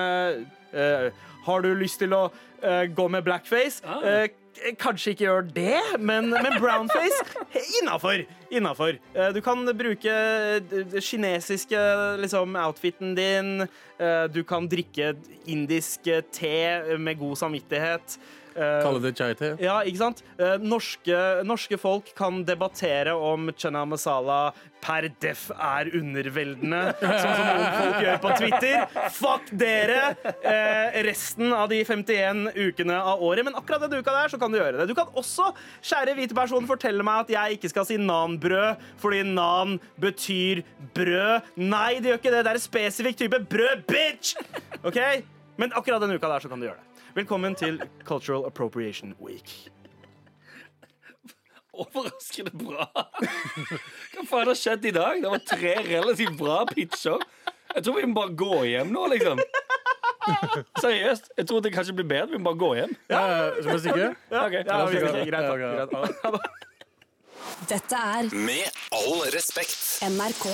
eh, eh, Har du lyst til å eh, gå med blackface? Ah. Eh, k- Kanskje ikke gjør det, men, men brownface innafor. Innafor. Eh, Du kan bruke eh, d- kinesiske liksom, outfiten din. Eh, Du kan drikke indisk eh, te med god samvittighet. Eh, Kalle det chai-te. ja, ikke sant? Eh, Norske, norske folk kan debattere om chana masala per def er underveldende, sånn som noen folk gjør på Twitter. Fuck dere! Eh, resten av de 51 ukene av året, men akkurat den uka der, så kan du gjøre det. Du kan også, kjære hvite person, fortelle meg at jeg ikke skal si nanbrød, fordi nan betyr brød. Nei, det gjør ikke det. Det er en spesifikk type brød, bitch! Ok? Men akkurat den uka der, så kan du gjøre det. Velkommen til Cultural Appropriation Week. Overraskende bra. Hva faen har skjedd i dag? Det var tre relativt bra pitcher. Jeg tror vi må bare gå hjem nå, liksom. Seriøst. Jeg tror det kanskje blir bedre. Vi må bare gå hjem. Ja, ja, Skal vi stikke? Ok. Ja, vi skal ok. ikke. Greit, Ja, ok. takk. Greit. Ha det. Dette er Med all respekt. NRK.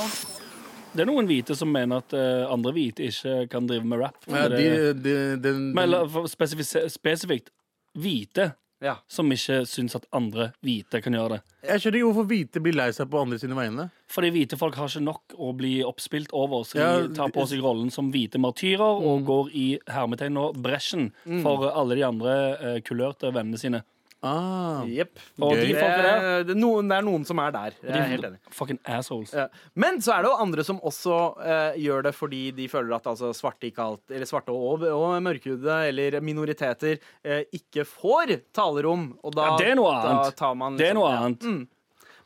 Det er noen hvite som mener at eh, andre hvite ikke kan drive med rap. Eh, Ja, de, de, den, Men la- for spesifis- spesifikt hvite Ja. som ikke syns at andre hvite kan gjøre det. jeg skjønner ikke hvorfor hvite blir lei seg på andre sine vegne. Fordi hvite folk har ikke nok å bli oppspilt over, så de Ja, Mm. tar på seg rollen som hvite martyrer og går i hermetegn og bresjen for alle de andre eh, kulørte vennene sine. Ah. Jepp. Og de Gøy. Det, folka der det, er noen, det er noen som er der. Jeg er helt enig. Fucking assholes. Ja. Men så er det jo andre som også eh, gjør det fordi de føler at altså, svarte, ikke alt, eller svarte og, og mørkhudede eller minoriteter eh, ikke får talerom. Og da, Ja, det er noe da annet. tar man liksom- Det er noe ja. Mm. annet.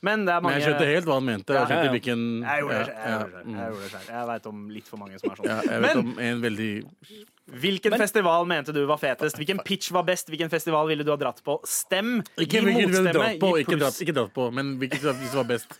Men det er mange Men jeg skjønte helt hva han mente. Ja, Jeg ja, ja. skjønte hvilken Jeg gjorde det ja, selv. Jeg, gjorde ja. det selv. jeg, gjorde det selv. jeg veit om litt for mange som er sånn. Ja, jeg vet Men om en veldig hvilken festival mente du var fetest? Hvilken pitch var best? Hvilken festival ville du ha dratt på? Stem! Gi Ikke hvilken vi har dratt på, motstemme. Gi ikke dratt, pluss. ikke dratt på, men hvilken som som var best.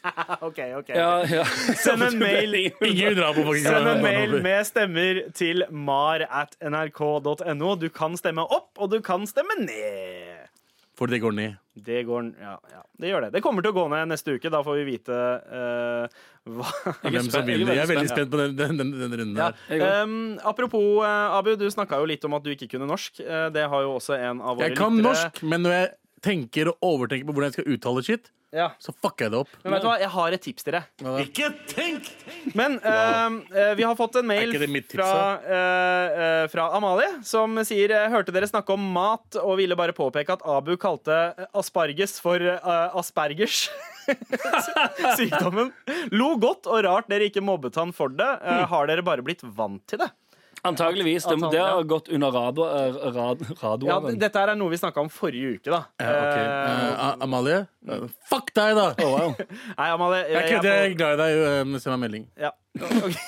Ok, ok. Ja, ja. Send en mail. Ingen vil dra på faktisk. Send en mail med stemmer til mar at nrk.no. Du kan stemme opp, og du kan stemme ned. For det går ned. Det går Ja, ja. det gjør det. Det kommer til å gå ned neste uke. Da får vi vite eh, hva Jeg er Hvem som spen- vil det. Jeg er veldig spent. spent på den, den, den, den runden Ja. her. Jeg går. Um, apropos, eh, Abu, du snakka jo litt om at du ikke kunne norsk. Eh, det har jo også en av våre Jeg kan lyttere norsk, men når jeg tenker og overtenker på hvordan jeg skal uttale shit, Ja. så fucker jeg det opp. Men vet du hva, jeg har et tips til dere. Ikke tenk! Men eh, eh, vi har fått en mail Er ikke det mitt tips, fra, eh, eh, fra Amalie, som sier eh, Hørte dere snakke om mat og ville bare påpeke at Abu kalte asparges for eh, aspergers. Sykdommen. Lo godt og rart dere ikke mobbet han for det. Eh, Hmm. har dere bare blitt vant til det? Antageligvis. Det, det har gått under radar, eh, rad, Ja, radaren. d- dette her er noe vi snakka om forrige uke, da. Ja, ok. Eh, Eh, A- Amalie, Mm. eh, fuck deg, da! Oh, Å, wow. Nei, Amalie, jeg, Jeg jeg kødder, jeg er er glad i deg. eh, men Send meg melding. på, ja.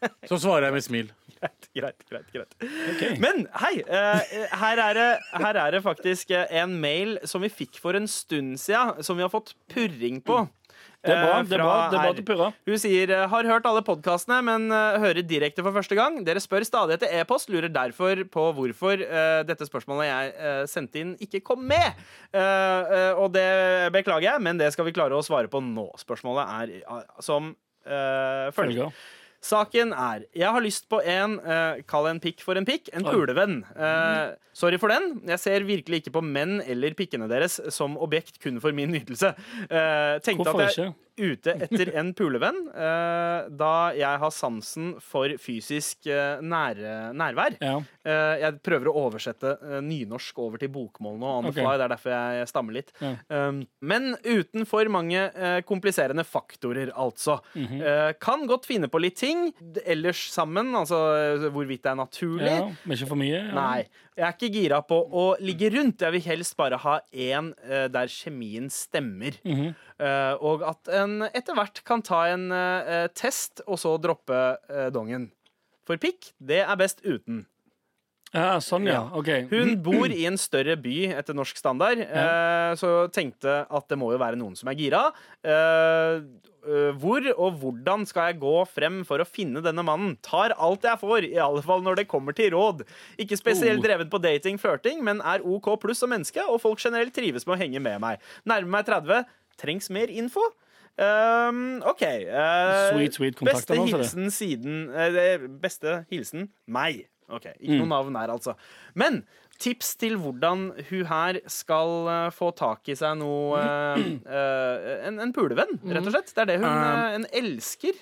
Ok, Så svarer jeg med smil. greit, greit, greit, greit. Men hei, eh, her, er det, her er det faktisk eh, en mail som vi fikk for en stund siden, som vi har fått purring på. Mm. Det er bra. Eh, Det er fra bra, det er bra R. at du purrer. Hun sier eh, har hørt alle podkastene, men eh, hører direkte for første gang. Dere spør stadig etter e-post, lurer derfor på hvorfor eh, dette spørsmålet jeg eh, sendte inn, ikke kom med. Eh, eh, og det beklager jeg, men det skal vi klare å svare på nå. Spørsmålet er eh, som eh, følger. Følger. Saken er Jeg har lyst på en eh, Kall en pikk for en pikk. En pulevenn. Eh, sorry for den. Jeg ser virkelig ikke på menn eller pikkene deres som objekt kun for min nytelse. Eh, tenkte Hvorfor at jeg er ute etter en pulevenn eh, da jeg har sansen for fysisk eh, nære, nærvær. Ja. Eh, jeg prøver å oversette eh, nynorsk over til bokmål nå. On the Ok. fly, det er derfor jeg stammer litt. Ja. Um, men uten for mange eh, kompliserende faktorer, altså. Mhm. Eh, kan godt finne på litt ting d- ellers sammen, altså eh, hvorvidt det er naturlig. ja. Men ikke for mye? Ja. Nei. Jeg er ikke gira på å ligge rundt. Jeg vil helst bare ha én eh, der kjemien stemmer. Mhm. Eh, og at en etter hvert kan ta en eh, test, og så droppe eh, dongen. For pikk, det er best uten. Ja, sånn, ja. OK. Hun bor i en større by etter norsk standard, eh, så tenkte at det må jo være noen som er gira. Eh, eh, hvor og hvordan skal jeg gå frem for å finne denne mannen? Tar alt jeg får, i alle fall når det kommer til råd. Ikke spesielt Oh. drevet på dating, flørting, men er OK pluss som menneske, og folk generelt trives med å henge med meg. Nærmer meg 30. Trengs mer info? Ehm, OK. eh, Sweet, sweet kontakt, Beste da, altså, det. hilsen siden eh, det Beste hilsen meg. Ok, Ikke noe Mm. navn her, altså. Men tips til hvordan hun her skal eh, få tak i seg noe eh, Mm. eh, en, en pulevenn, rett og slett. Det er det hun eh, En elsker.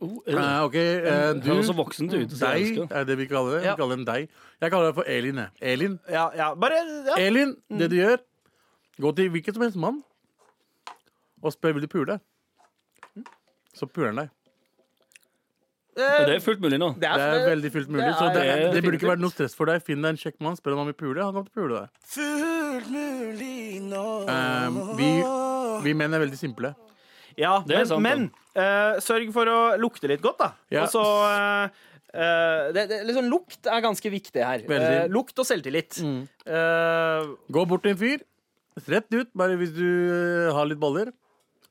Oh, Eh, eh, OK, eh, du Høres så voksent ut. så jeg Deg elsker. er det vi kaller det. Ja. Vi kaller dem deg. Jeg kaller deg for Elin. jeg. Elin, Ja, ja, bare ja. Elin det du gjør Gå til hvilken som helst mann og spør vil du pule. Så puler han deg. Ja, eh, det er fullt mulig nå. Det er eh, veldig fullt mulig. det så det, er- det burde ikke vært noe stress for deg. Finn deg en kjekk mann, spør om han vil pule. Han kan pule deg. Eh, vi, vi menn er veldig simple. ja, det er men, sant, men eh, sørg for å lukte litt godt, da. Ja. Og så eh, eh, det, det, liksom, Lukt er ganske viktig her. Eh, Veldig. Mm. lukt og selvtillit. Eh, Gå bort til en fyr, rett ut, bare hvis du eh, har litt baller,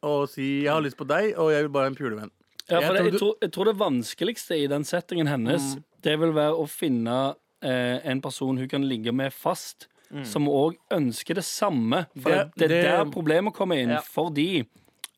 og si 'jeg har lyst på deg, og jeg vil bare ha en pulevenn'. Ja, Jeg for tror det, jeg, du- tror, jeg tror det vanskeligste i den settingen hennes Det vil være å finne eh, en person hun kan ligge med fast, som òg ønsker det samme. For det, Det- det, er der det- problemet kommer inn. Ja. Fordi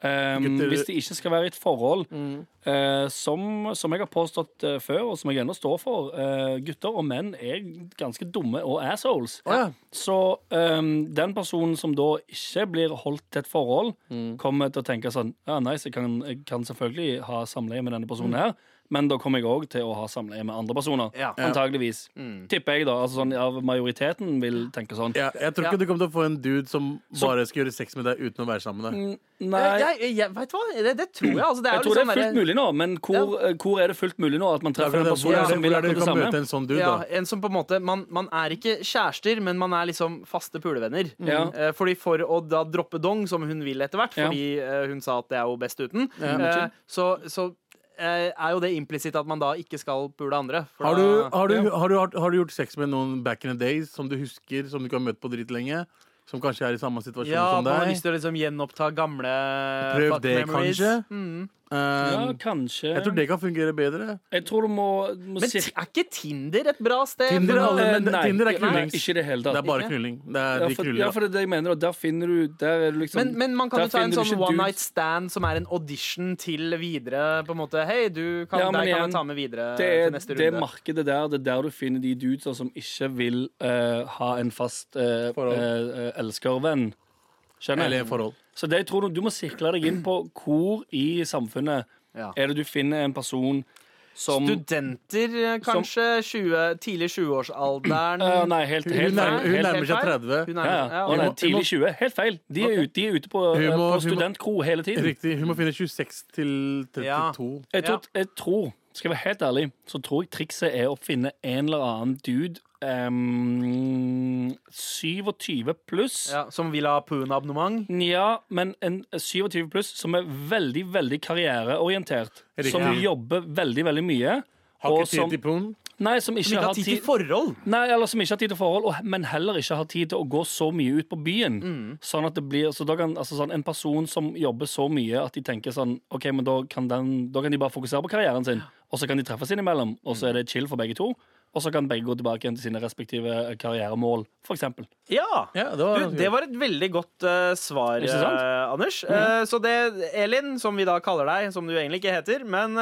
ehm, Gutter- hvis det ikke skal være i et forhold Mm. eh, som, som jeg har påstått eh, før, og som jeg ennå står for, eh, gutter og menn er ganske dumme og assholes. Å ja. Så ehm, den personen som da ikke blir holdt til et forhold, Mm. kommer til å tenke sånn Ja, nice, jeg kan, jeg kan selvfølgelig ha samleie med denne Mm. personen her, men da kommer jeg òg til å ha samleie med andre personer. Ja. Antageligvis. Tipper jeg, da. Altså sånn, ja, majoriteten vil tenke sånn. Mm. Ja, jeg tror ikke du kommer til å få en dude som bare skal gjøre sex med deg uten å være sammen med deg. Mm. Nei, jeg, Jeg, jeg, jeg, vet du hva? Det, det tror jeg. Altså, det er jo tror det liksom er fullt derre- mulig nå, men hvor, eh, hvor er det fullt mulig nå at man Det er treffer akkurat en det. Hvor person er det, som vil hvor er det akkurat du det kan samme? møte en sånn dude, ja, da? en som på en måte man, man er ikke kjærester, men man er liksom faste pulevenner. Mm. Ja. Eh, Fordi For å da droppe dong, som hun vil etter hvert, fordi eh, hun sa at det er jo best uten, eh, så, så eh, er jo det implisitt at man da ikke skal pule andre. for Har du, da- har, du, har, du, har, har du gjort sex med noen back in the days som du husker, som du ikke har møtt på dritlenge? Som kanskje er i samme situasjon ja, som man har sånn deg? lyst til å liksom gjenoppta gamle Prøv fuck det, memories. kanskje. Mm. Ja, Um, kanskje. jeg tror det kan fungere bedre. Jeg tror du må, må Men t- sirk- er ikke Tinder et bra sted? Tinder er alle- Eh, men det- nei, Tinder er nei, knullings. ikke i det hele Det tatt. er bare knulling. Det er, Ja, de for, knuller. ja, for det er det jeg mener. Og der finner du der er det liksom, Men, men man kan der jo ta en finner du sånn ikke one dudes. night stand som er en audition til videre. På en måte, hei, du kan, Ja, men deg kan igjen, jeg ta med videre Det eh, til er neste det runde. markedet der Det er der du finner de dudesa som ikke vil eh, ha en fast eh, Forhold. eh, elskervenn. Skjønner Eller jeg? forhold. Så det jeg tror du, du må sikle deg inn på hvor i samfunnet Ja. er det du finner en person som Studenter, eh, kanskje? 20, tidlig 20-årsalderen? Eh, Nei, helt, Hun, helt nærmer, hun helt- nærmer seg helt feil. 30. Hun er Ja, ja. Mm. ja, Å, nei, og- vi må- tidlig 20. Helt feil. De er ute, de er ute på, Hun eh, må- på hun må- studentkro hele tiden. Riktig. Hun må finne 26 til 32. Ja. Jeg tror, jeg tror, skal jeg være helt ærlig, så tror jeg trikset er å finne en eller annen dude ehm, 27 pluss. Ja. ja, som vil ha Poon-abonnement? men en 27 pluss som er veldig, veldig karriereorientert. Riktig. Som Ja. jobber veldig, veldig mye. Har og ikke som, tid til pung. nei, som Som ikke ikke har har tid til tid forhold? Nei, eller som ikke har tid til forhold, og, men heller ikke har tid til å gå så mye ut på byen. Mm. Sånn at det blir, så da kan, altså sånn, En person som jobber så mye at de tenker sånn Ok, men da kan, den, da kan de bare fokusere på karrieren sin, og så kan de treffes innimellom, og Mm. så er det chill for begge to. Og så kan begge gå tilbake igjen til sine respektive eh, karrieremål, f.eks. Ja! Ja, det var, Du, det var et veldig godt eh, svar, Ikke sant? Mhm. eh, Anders. Eh, så det Elin, som vi da kaller deg, som du egentlig ikke heter, men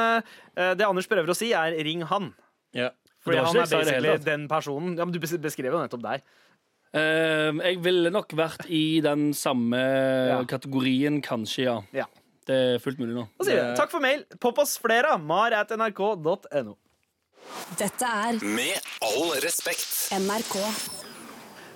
eh, det Anders prøver å si, er ring han. ja. Fordi Det var han ikke er det jeg sa i det hele basically tatt. den personen. Ja, men Du bes- beskrev jo nettopp deg. Eh, jeg ville nok vært i den samme Ja. kategorien, kanskje, ja. Ja. Det er fullt mulig nå. Da sier vi takk for mail. Popp oss flere. Mar at nrk.no. Dette er Med all respekt. NRK.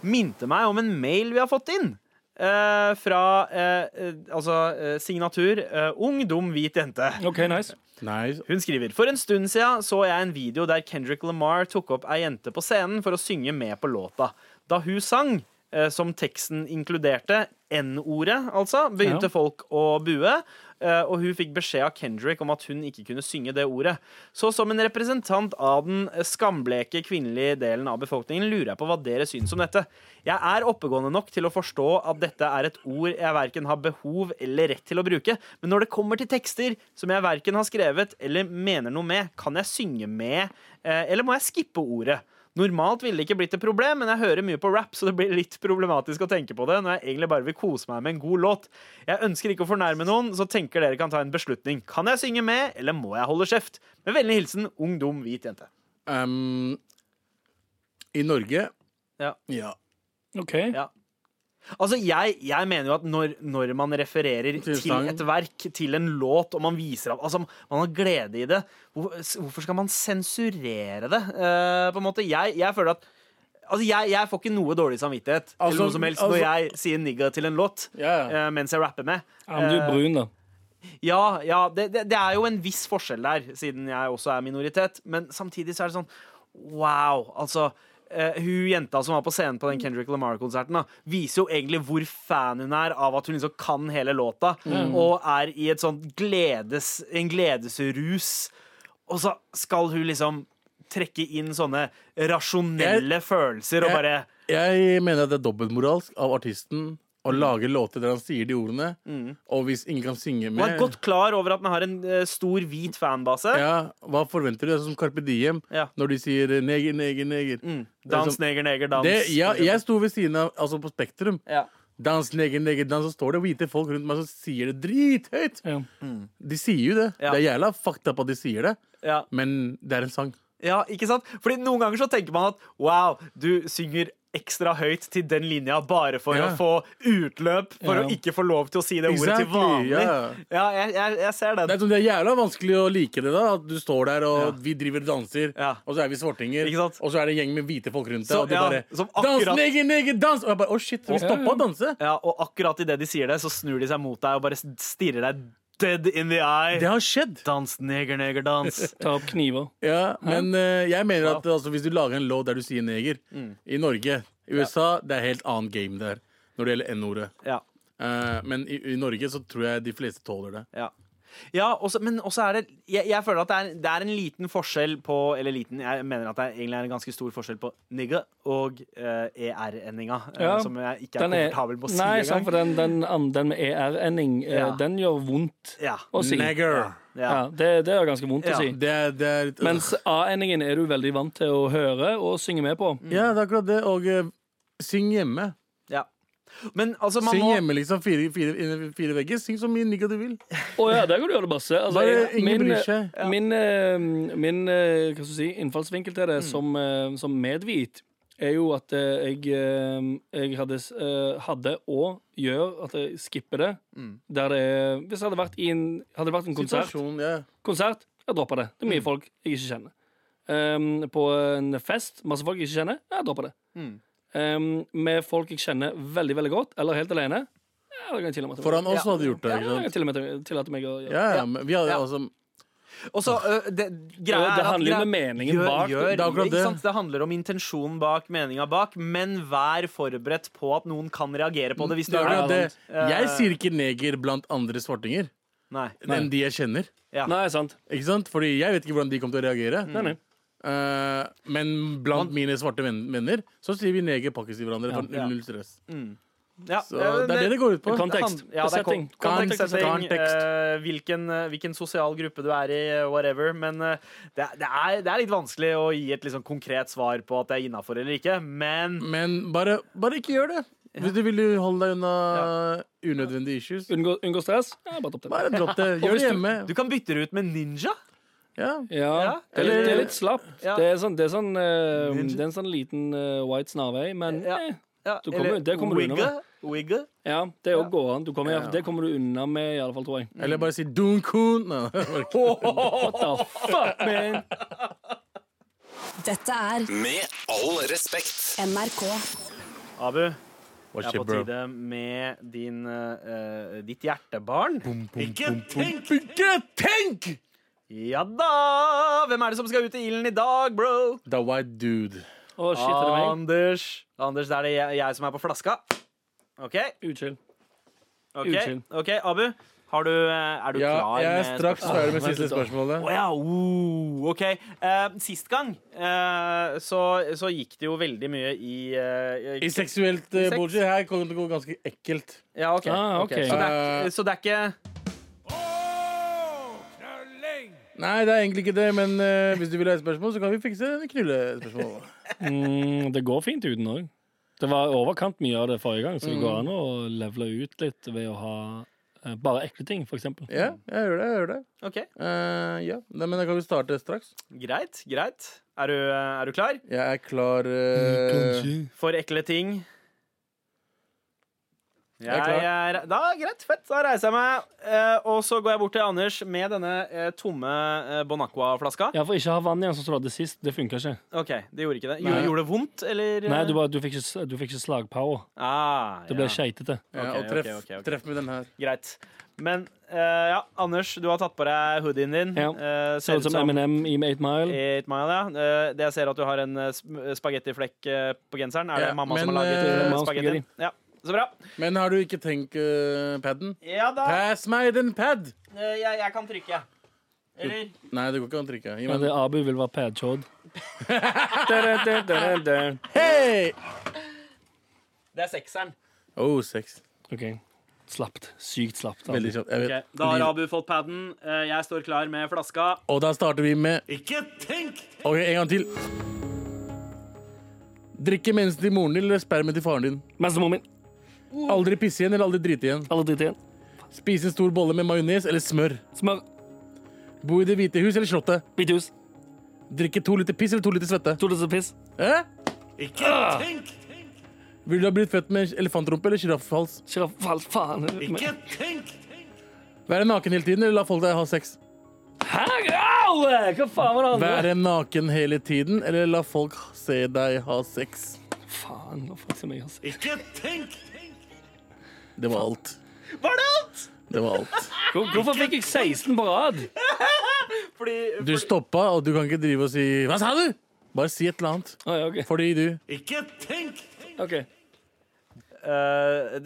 minte meg om en mail vi har fått inn. eh, fra eh, eh, altså eh, signatur eh, ung, dum, hvit jente. OK, nice. Nice. Hun skriver For en stund siden så jeg en video der Kendrick Lamar tok opp ei jente på scenen for å synge med på låta. Da hun sang, eh, som teksten inkluderte, N-ordet, altså, begynte Ja. folk å bue. eh, Og hun fikk beskjed av Kendrick om at hun ikke kunne synge det ordet. Så som en representant av den skambleke kvinnelige delen av befolkningen lurer jeg på hva dere syns om dette. Jeg er oppegående nok til å forstå at dette er et ord jeg verken har behov eller rett til å bruke, men når det kommer til tekster som jeg verken har skrevet eller mener noe med, kan jeg synge med, eh, eller må jeg skippe ordet? Normalt ville det ikke blitt et problem, men jeg hører mye på rap, så det blir litt problematisk å tenke på det når jeg egentlig bare vil kose meg med en god låt. Jeg ønsker ikke å fornærme noen, så tenker dere kan ta en beslutning. Kan jeg synge med, eller må jeg holde kjeft? Med vennlig hilsen ung, dum, hvit jente. Um, I Norge Ja. OK. Ja. Altså, jeg, jeg mener jo at når, når man refererer til, sang. et verk, til en låt, og man viser av Altså, man har glede i det, hvor, hvorfor skal man sensurere det, eh, på en måte? Jeg, jeg føler at Altså, jeg, jeg får ikke noe dårlig samvittighet Altså, eller noe som helst når jeg sier 'nigga' til en låt Ja, ja. eh, mens jeg rapper med. Ja, men du er brun, da. Ja, ja det, det, det er jo en viss forskjell der, siden jeg også er minoritet. Men samtidig så er det sånn Wow! Altså, eh, hun jenta som var på scenen på den Mm. Kendrick Lamar-konserten, da, viser jo egentlig hvor fan hun er av at hun liksom kan hele låta, Mm. og er i et sånt gledes, en gledesrus. Og så skal hun liksom trekke inn sånne rasjonelle følelser og jeg- bare Jeg mener at det er dobbeltmoralsk av artisten Mm. og lager låter der han sier de ordene. Og hvis ingen kan synge Man Mm. er med godt klar over at man har en eh, stor, hvit fanbase. ja, Hva forventer du? Det er sånn som Carpe Diem Ja. Mm. når de sier eh, 'neger, neger, neger'. Det er Dans, sånn- neger, neger, dans. det, ja, jeg sto ved siden av, altså på Spektrum. Ja. Dans, neger, neger, dans. Så står det hvite folk rundt meg som sier det drithøyt. Ja. De sier jo det. Ja. Det er jævla fucked up at de sier det, Ja. men det er en sang. ja, ikke sant? Fordi noen ganger så tenker man at wow, du synger ekstra høyt til den linja bare for Ja. å få utløp, for Ja. å ikke få lov til å si det ordet til Exactly, vanlig. ja. Ja, jeg, jeg, jeg ser Det den. er, sånn, det er jævla vanskelig å like det, da. At du står der, og vi driver og danser, Ja. og så er vi svartinger, Ikke sant? og så er det en gjeng med hvite folk rundt deg, Så- og de ja, bare som Dans, akkurat- neger, neger, dans! Og jeg bare Å, shit, vi ja, stoppa ja. å danse. Ja, og akkurat idet de sier det, så snur de seg mot deg og bare stirrer deg dead in the eye. Det har skjedd. Dans, neger, neger, dans. Ta opp kniver. Ja, men eh, jeg mener at altså, hvis du lager en låt der du sier neger, Mm. i Norge I USA, det er helt annet game der når det gjelder N-ordet. Ja, Eh, men i, i Norge så tror jeg de fleste tåler det. ja. Ja, også, men også er det Jeg, jeg føler at det er, det er en liten forskjell på Eller liten, jeg mener at det er, egentlig er en ganske stor forskjell på nigga og eh, ER-endinga, eh, Ja, som jeg ikke er komfortabel med å si nei, sant, engang. for den, den, an- den med ER-ending, eh, Ja. den gjør vondt Ja, å si. Nigger. ja. Ja, det, det gjør ganske vondt Ja. å si. Det er, det er Mens A-endingen er du veldig vant til å høre og synge med på. Mm. Ja, det er akkurat det. Og eh, syng hjemme. ja. Men altså, man Syng må hjemme, liksom. Fire, fire, innen fire vegger. Syng så mye nigga du vil. Å ja, der kan du gjøre det masse. Altså, Bare jeg- ingen bryr seg. Min, eh, min eh, hva skal jeg si, innfallsvinkel til det Mm. som, eh, som medvit er jo at eh, jeg, eh, jeg hadde, s- eh, hadde og gjør at jeg skipper det. Mm. Der det er, hvis jeg hadde vært i en, hadde det vært en konsert Situasjon, ja. Konsert, jeg dropper det. Det er mye Mm. folk jeg ikke kjenner. Um, på en fest, masse folk jeg ikke kjenner, jeg dropper det. Mm. Um, med folk jeg kjenner veldig veldig godt, eller helt alene, ja, det kan jeg tillate meg. Foran oss Ja. hadde du gjort det. ja, ikke det kan jeg sant? til og med tillate meg å gjøre. Ja, ja, men vi hadde Ja. altså Og så, ø, det, greia er Det- det at handler jo om greia- meningen bak. Gjør, Det er akkurat ikke det. sant? det handler om intensjonen bak, meninga bak, men vær forberedt på at noen kan reagere på det hvis du sånn, det er gjør akkurat det. det. Ja. Jeg sier ikke neger blant andre svartinger Nei. enn de jeg kjenner. Ja. Nei, sant. Ikke sant? Fordi jeg vet ikke hvordan de kommer til å reagere. Nei, nei. Eh, men blant mine svarte venn- venner så sier vi neger pakkis i hverandre. For Ja. null stress. Ja, Så det er det det går ut på. Kontekst. Ja, det er kon- setting. kontekst, Kontekst, setting, kontekst. eh, hvilken, eh, hvilken sosial gruppe du er i, eh, whatever. Men eh, det, er- det, er, det er litt vanskelig å gi et liksom konkret svar på at det er innafor eller ikke. Men Men bare, bare ikke gjør det. Hvis du vil holde deg unna unødvendige issues, Unngå, unngå stress. Ja, bare dropp det. bare dropp det. Og Gjør hvis det du- hjemme. du kan bytte det ut med ninja. Ja, Ja. Ja, det er litt, det er eller- litt slapt. Ja. Det er sånn, det er sånn, eh, det er en sånn liten eh, white snarvei, men Ja. eh, Ja, Du kommer- eller det kommer du unna wigge. Wigge. ja, det òg går an. Du kommer, i hvert fall- Det kommer du unna med, i alle fall, tror jeg. Eller bare si dunkun. Nei, bare ikke. What the fuck, man? Dette er Med all respekt. NRK. Abu, What's det er your på bro? tide med din, eh, eh, ditt hjertebarn. Ikke tenk! Ikke tenk! Ja da! Hvem er det som skal ut i ilden i dag, bro? The white dude. Å, shit, er det meg? Anders. Anders, det er det jeg, jeg som er på flaska. OK? Utskill. Ok, Unnskyld. ok, Abu. Har du, eh, er du Ja, klar jeg er med straks spørsmål? ferdig med siste spørsmålet. Å ja, oh, OK. Eh, sist gang eh, så, så gikk det jo veldig mye i eh, I seksuelt uh, bullshit her kommer det til å gå ganske ekkelt. Ja, OK. Ah, ok. ok. Så, det er, Eh. så det er ikke Nei, det er egentlig ikke det, men eh, hvis du vil ha et spørsmål, så kan vi fikse en knullespørsmål. Mm, det går fint uten òg. Det var overkant mye av det forrige gang, så det går an å levele ut litt ved å ha eh, bare ekle ting, for eksempel. Ja, jeg gjør det. jeg gjør det OK, Eh, Ja, Nei, Men da kan vi starte straks. greit. Greit. Er du, eh, er du klar Jeg er klar Mm, eh, for ekle ting? er klar. Jeg er- da, greit, fett. Da reiser jeg meg. Eh, og så går jeg bort til Anders med denne eh, tomme eh, Bon Aqua-flaska. Ja, for ikke ha vann igjen, sånn som du hadde sist. Det funka ikke. OK, det gjorde ikke det. Nei. Gjorde, gjorde det vondt, eller? Nei, eh? du, bare, du, fikk ikke, s- du fikk ikke slagpower. Ah, Det ble ja. keitete. ja, Ok, Og treff, ok, ok, ok. treff med den her. Greit. Men eh, ja, Anders, du har tatt på deg hoodien din. Ja. Eh, Sånn som M&M i 8 Mile. Eight Mile, ja. Eh, det jeg ser at du har en eh, sp- spagettiflekk eh, på genseren. Er det Ja, mamma som men, har laget eh, eh, mammas spagetti? spagetti. Ja. Så bra. Men har du ikke tenkt uh, paden? Ja da. Pass meg den pad! Eh, jeg, jeg kan trykke, jeg. Eller Nei, det går ikke an å trykke. Gi Men meg det den. Abu vil være padchod. Hei! Det er sekseren. Oh, sex. OK. Slapt. Sykt slapt. altså. Veldig kjapt. Jeg vet. Da har Abu fått paden. Eh, Jeg står klar med flaska. Og da starter vi med Ikke tenk! Ok, en gang til. Drikke mensen til moren din eller spermen til faren din. Mens moren min Aldri pisse igjen eller aldri drite igjen. alle driter igjen. Spise en stor bolle med majones eller smør. Smør. Bo i Det hvite hus eller Slottet. Hvite hus. Drikke to liter piss eller to liter svette. To liter piss. Ah, Eh? Ikke tenk! Vil du ha blitt født med elefantrumpe eller sjiraffhals? Sjiraff. Faen. faen. Ikke tenk! Være naken hele tiden eller la folk deg ha sex? Hæ? Au! Hva faen var det andre? Være naken hele tiden eller la folk se deg ha sex? Faen, hva faen skal jeg gjøre? Ikke tenk! Det var alt. Var det alt? Det var alt. Hvor- Hvorfor fikk jeg 16 på rad? Fordi Du stoppa, og du kan ikke drive og si 'hva sa du?' Bare si et eller annet. Å, ja, OK. Fordi du Ikke tenk! Ok. Eh,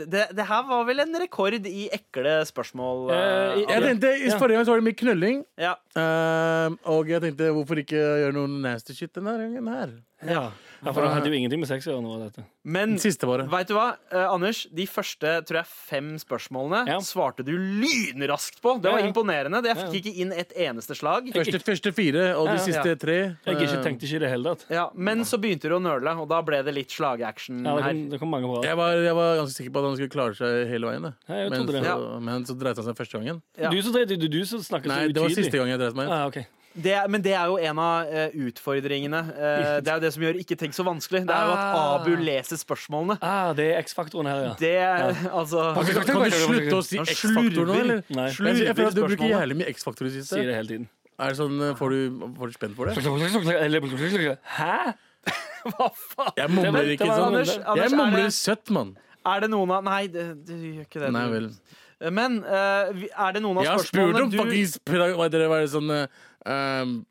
det, det her var vel en rekord i ekle spørsmål. eh, Eh, Jeg Abu. tenkte, i Forrige gang så var det mye knølling, ja. eh, og jeg tenkte hvorfor ikke gjøre noe nasty shit denne gangen her? Ja, for det hadde jo ingenting med sex å gjøre. noe av dette. Men Den siste bare. Vet du hva, eh, Anders? De første tror jeg, fem spørsmålene Ja. svarte du lynraskt på. Det Ja, var ja. imponerende. Jeg fikk ikke inn et eneste slag. Første, første fire, og de Ja, ja. siste tre. Jeg ikke eh, tenkte ikke i det hele tatt. Ja, men så begynte du å nøle, og da ble det litt slagaction Ja, det, her. kom, det kom mange på rad. jeg var, jeg var ganske sikker på at han skulle klare seg hele veien. jeg. Ja, jeg men, trodde det. så, men så dreit han seg første gangen. Ja. Du som drev, du, du som snakket så Nei, utydelig. det var siste gang jeg dreit meg. Ah, ok. Det, er- men det er jo en av eh, utfordringene. Eh, det er jo det som gjør Ikke tenk så vanskelig. Det er jo at Ah. Abu leser spørsmålene. Ah, det er X-faktoren her, ja. Det, altså Kan, kan, kan du slutte å si Han X-faktor nå, slurver. eller? Nei, Jeg- Jeg føler at Du bruker spørsmålet. jævlig mye X-faktor i det siste. sier det hele tiden. Er det sånn, eh, får, du, får du spent for det? Hæ? Hva faen? Jeg mumler Det ikke var- det var sånn. Anders, Jeg Anders er, mumler det, søtt, mann. er det noen av Nei, det, du gjør ikke det. Nei du. vel. Men eh, vi- er det noen av Jeg har spurt spørsmålene om du fuckings pra- Hva heter det, hva er det sånn eh, um,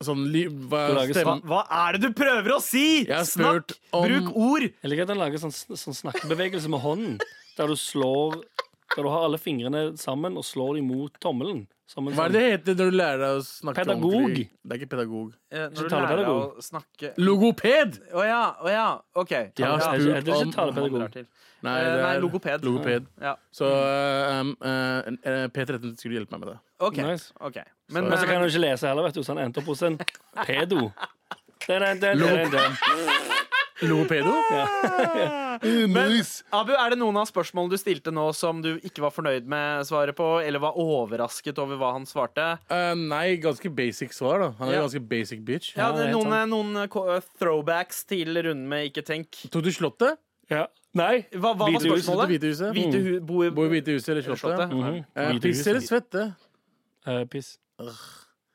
Sånn li, hva, Pelagisk hva, stemme, hva er det du prøver å si?! Jeg har Snakk! spurt om- Bruk ord! Jeg liker at han lager sånn, sånn snakkebevegelse med hånden, der du slår Der du har alle fingrene sammen og slår dem mot tommelen. Som en sånn hva er det det heter når du lærer deg å snakke Pedagog. ordentlig? Det er ikke pedagog. Eh, Når du lærer taler deg å pedagog. snakke Logoped! Å ja, å ja. OK. Jeg har Ja, Er det ikke- er spurt det ikke han om drar talepedagog? til. Nei, Eh, det nei, er logoped. logoped. Ja. Så eh, um, eh, eh, P13 skulle hjelpe meg med det. OK. Nice. ok. Men, Men så eh, kan han jo ikke lese heller, vet du, så han endte opp hos en pedo. Det er den, den, den, den. Logopedo? Nice. Abu, er det noen av spørsmålene du stilte nå som du ikke var fornøyd med svaret på, eller var overrasket over hva han svarte? Eh, nei, ganske basic svar, da. Han er Ja. ganske basic bitch. Ja, Ja, det er helt noen, noen eh, ko- eh, throwbacks til runden med Ikke tenk. Tok du Slottet? Ja. Nei. Hva, hva var Hvite huset spørsmålet? Hvite huset? Hvite hu bo i, Bor i Hvite huset eller Eller Slottet. Slottet? Mhm. Eh, Hvite piss hus. eller svette? Eh, piss.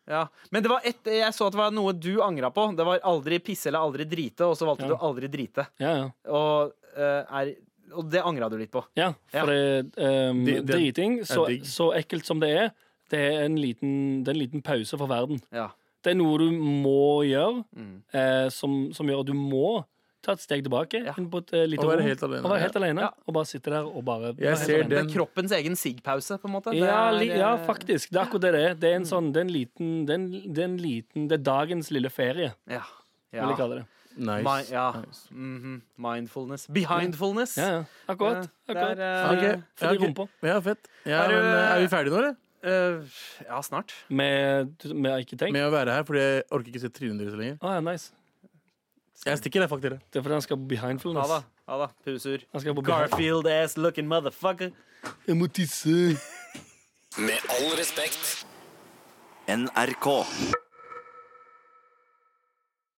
Ja. Men det var et, jeg så at det var noe du angra på. Det var aldri pisse eller aldri drite, og så valgte Ja. du aldri drite. Ja, ja. Og, eh, er, og det angra du litt på. Ja, for det, ehm, Det- det- driting, så, digg. så ekkelt som det er, det er en liten, det er en liten pause for verden. Ja. Det er noe du må gjøre, Mm. eh, som, som gjør at du må ta et steg tilbake. Ja. Inn på et eh, lite Og være rom, helt alene. Og, være helt alene Ja. og bare sitte der og bare Jeg være helt ser Det alene. Den- er kroppens egen sigg-pause, på en måte. Ja, Det er, li, ja, eh, faktisk. Det er akkurat det det er. Det er en sånn, det er en liten, det er en, det er en liten, det er dagens lille ferie, Ja. vil jeg ja. kalle det. Nice. Mi- ja. nice. Mhm. Mindfulness. Behindfulness. Ja, ja. Akkurat. Ja, akkurat. det er, Ok, eh, Fordi ja, ok. rumpa. Ja, fett. Ja, Er du- men, eh, er vi ferdige nå, eller? eh, ja, snart. Med, med ikke tenk. Med å være her, fordi jeg orker ikke se trynet deres lenger. Å ja, nice. Jeg stikker, jeg, fuck dere. Det er fordi han skal på Ha behindfulness. det. Ha det. Pusur. Han skal på behind- Garfield ass looking motherfucker. Jeg må tisse. Med all respekt. NRK.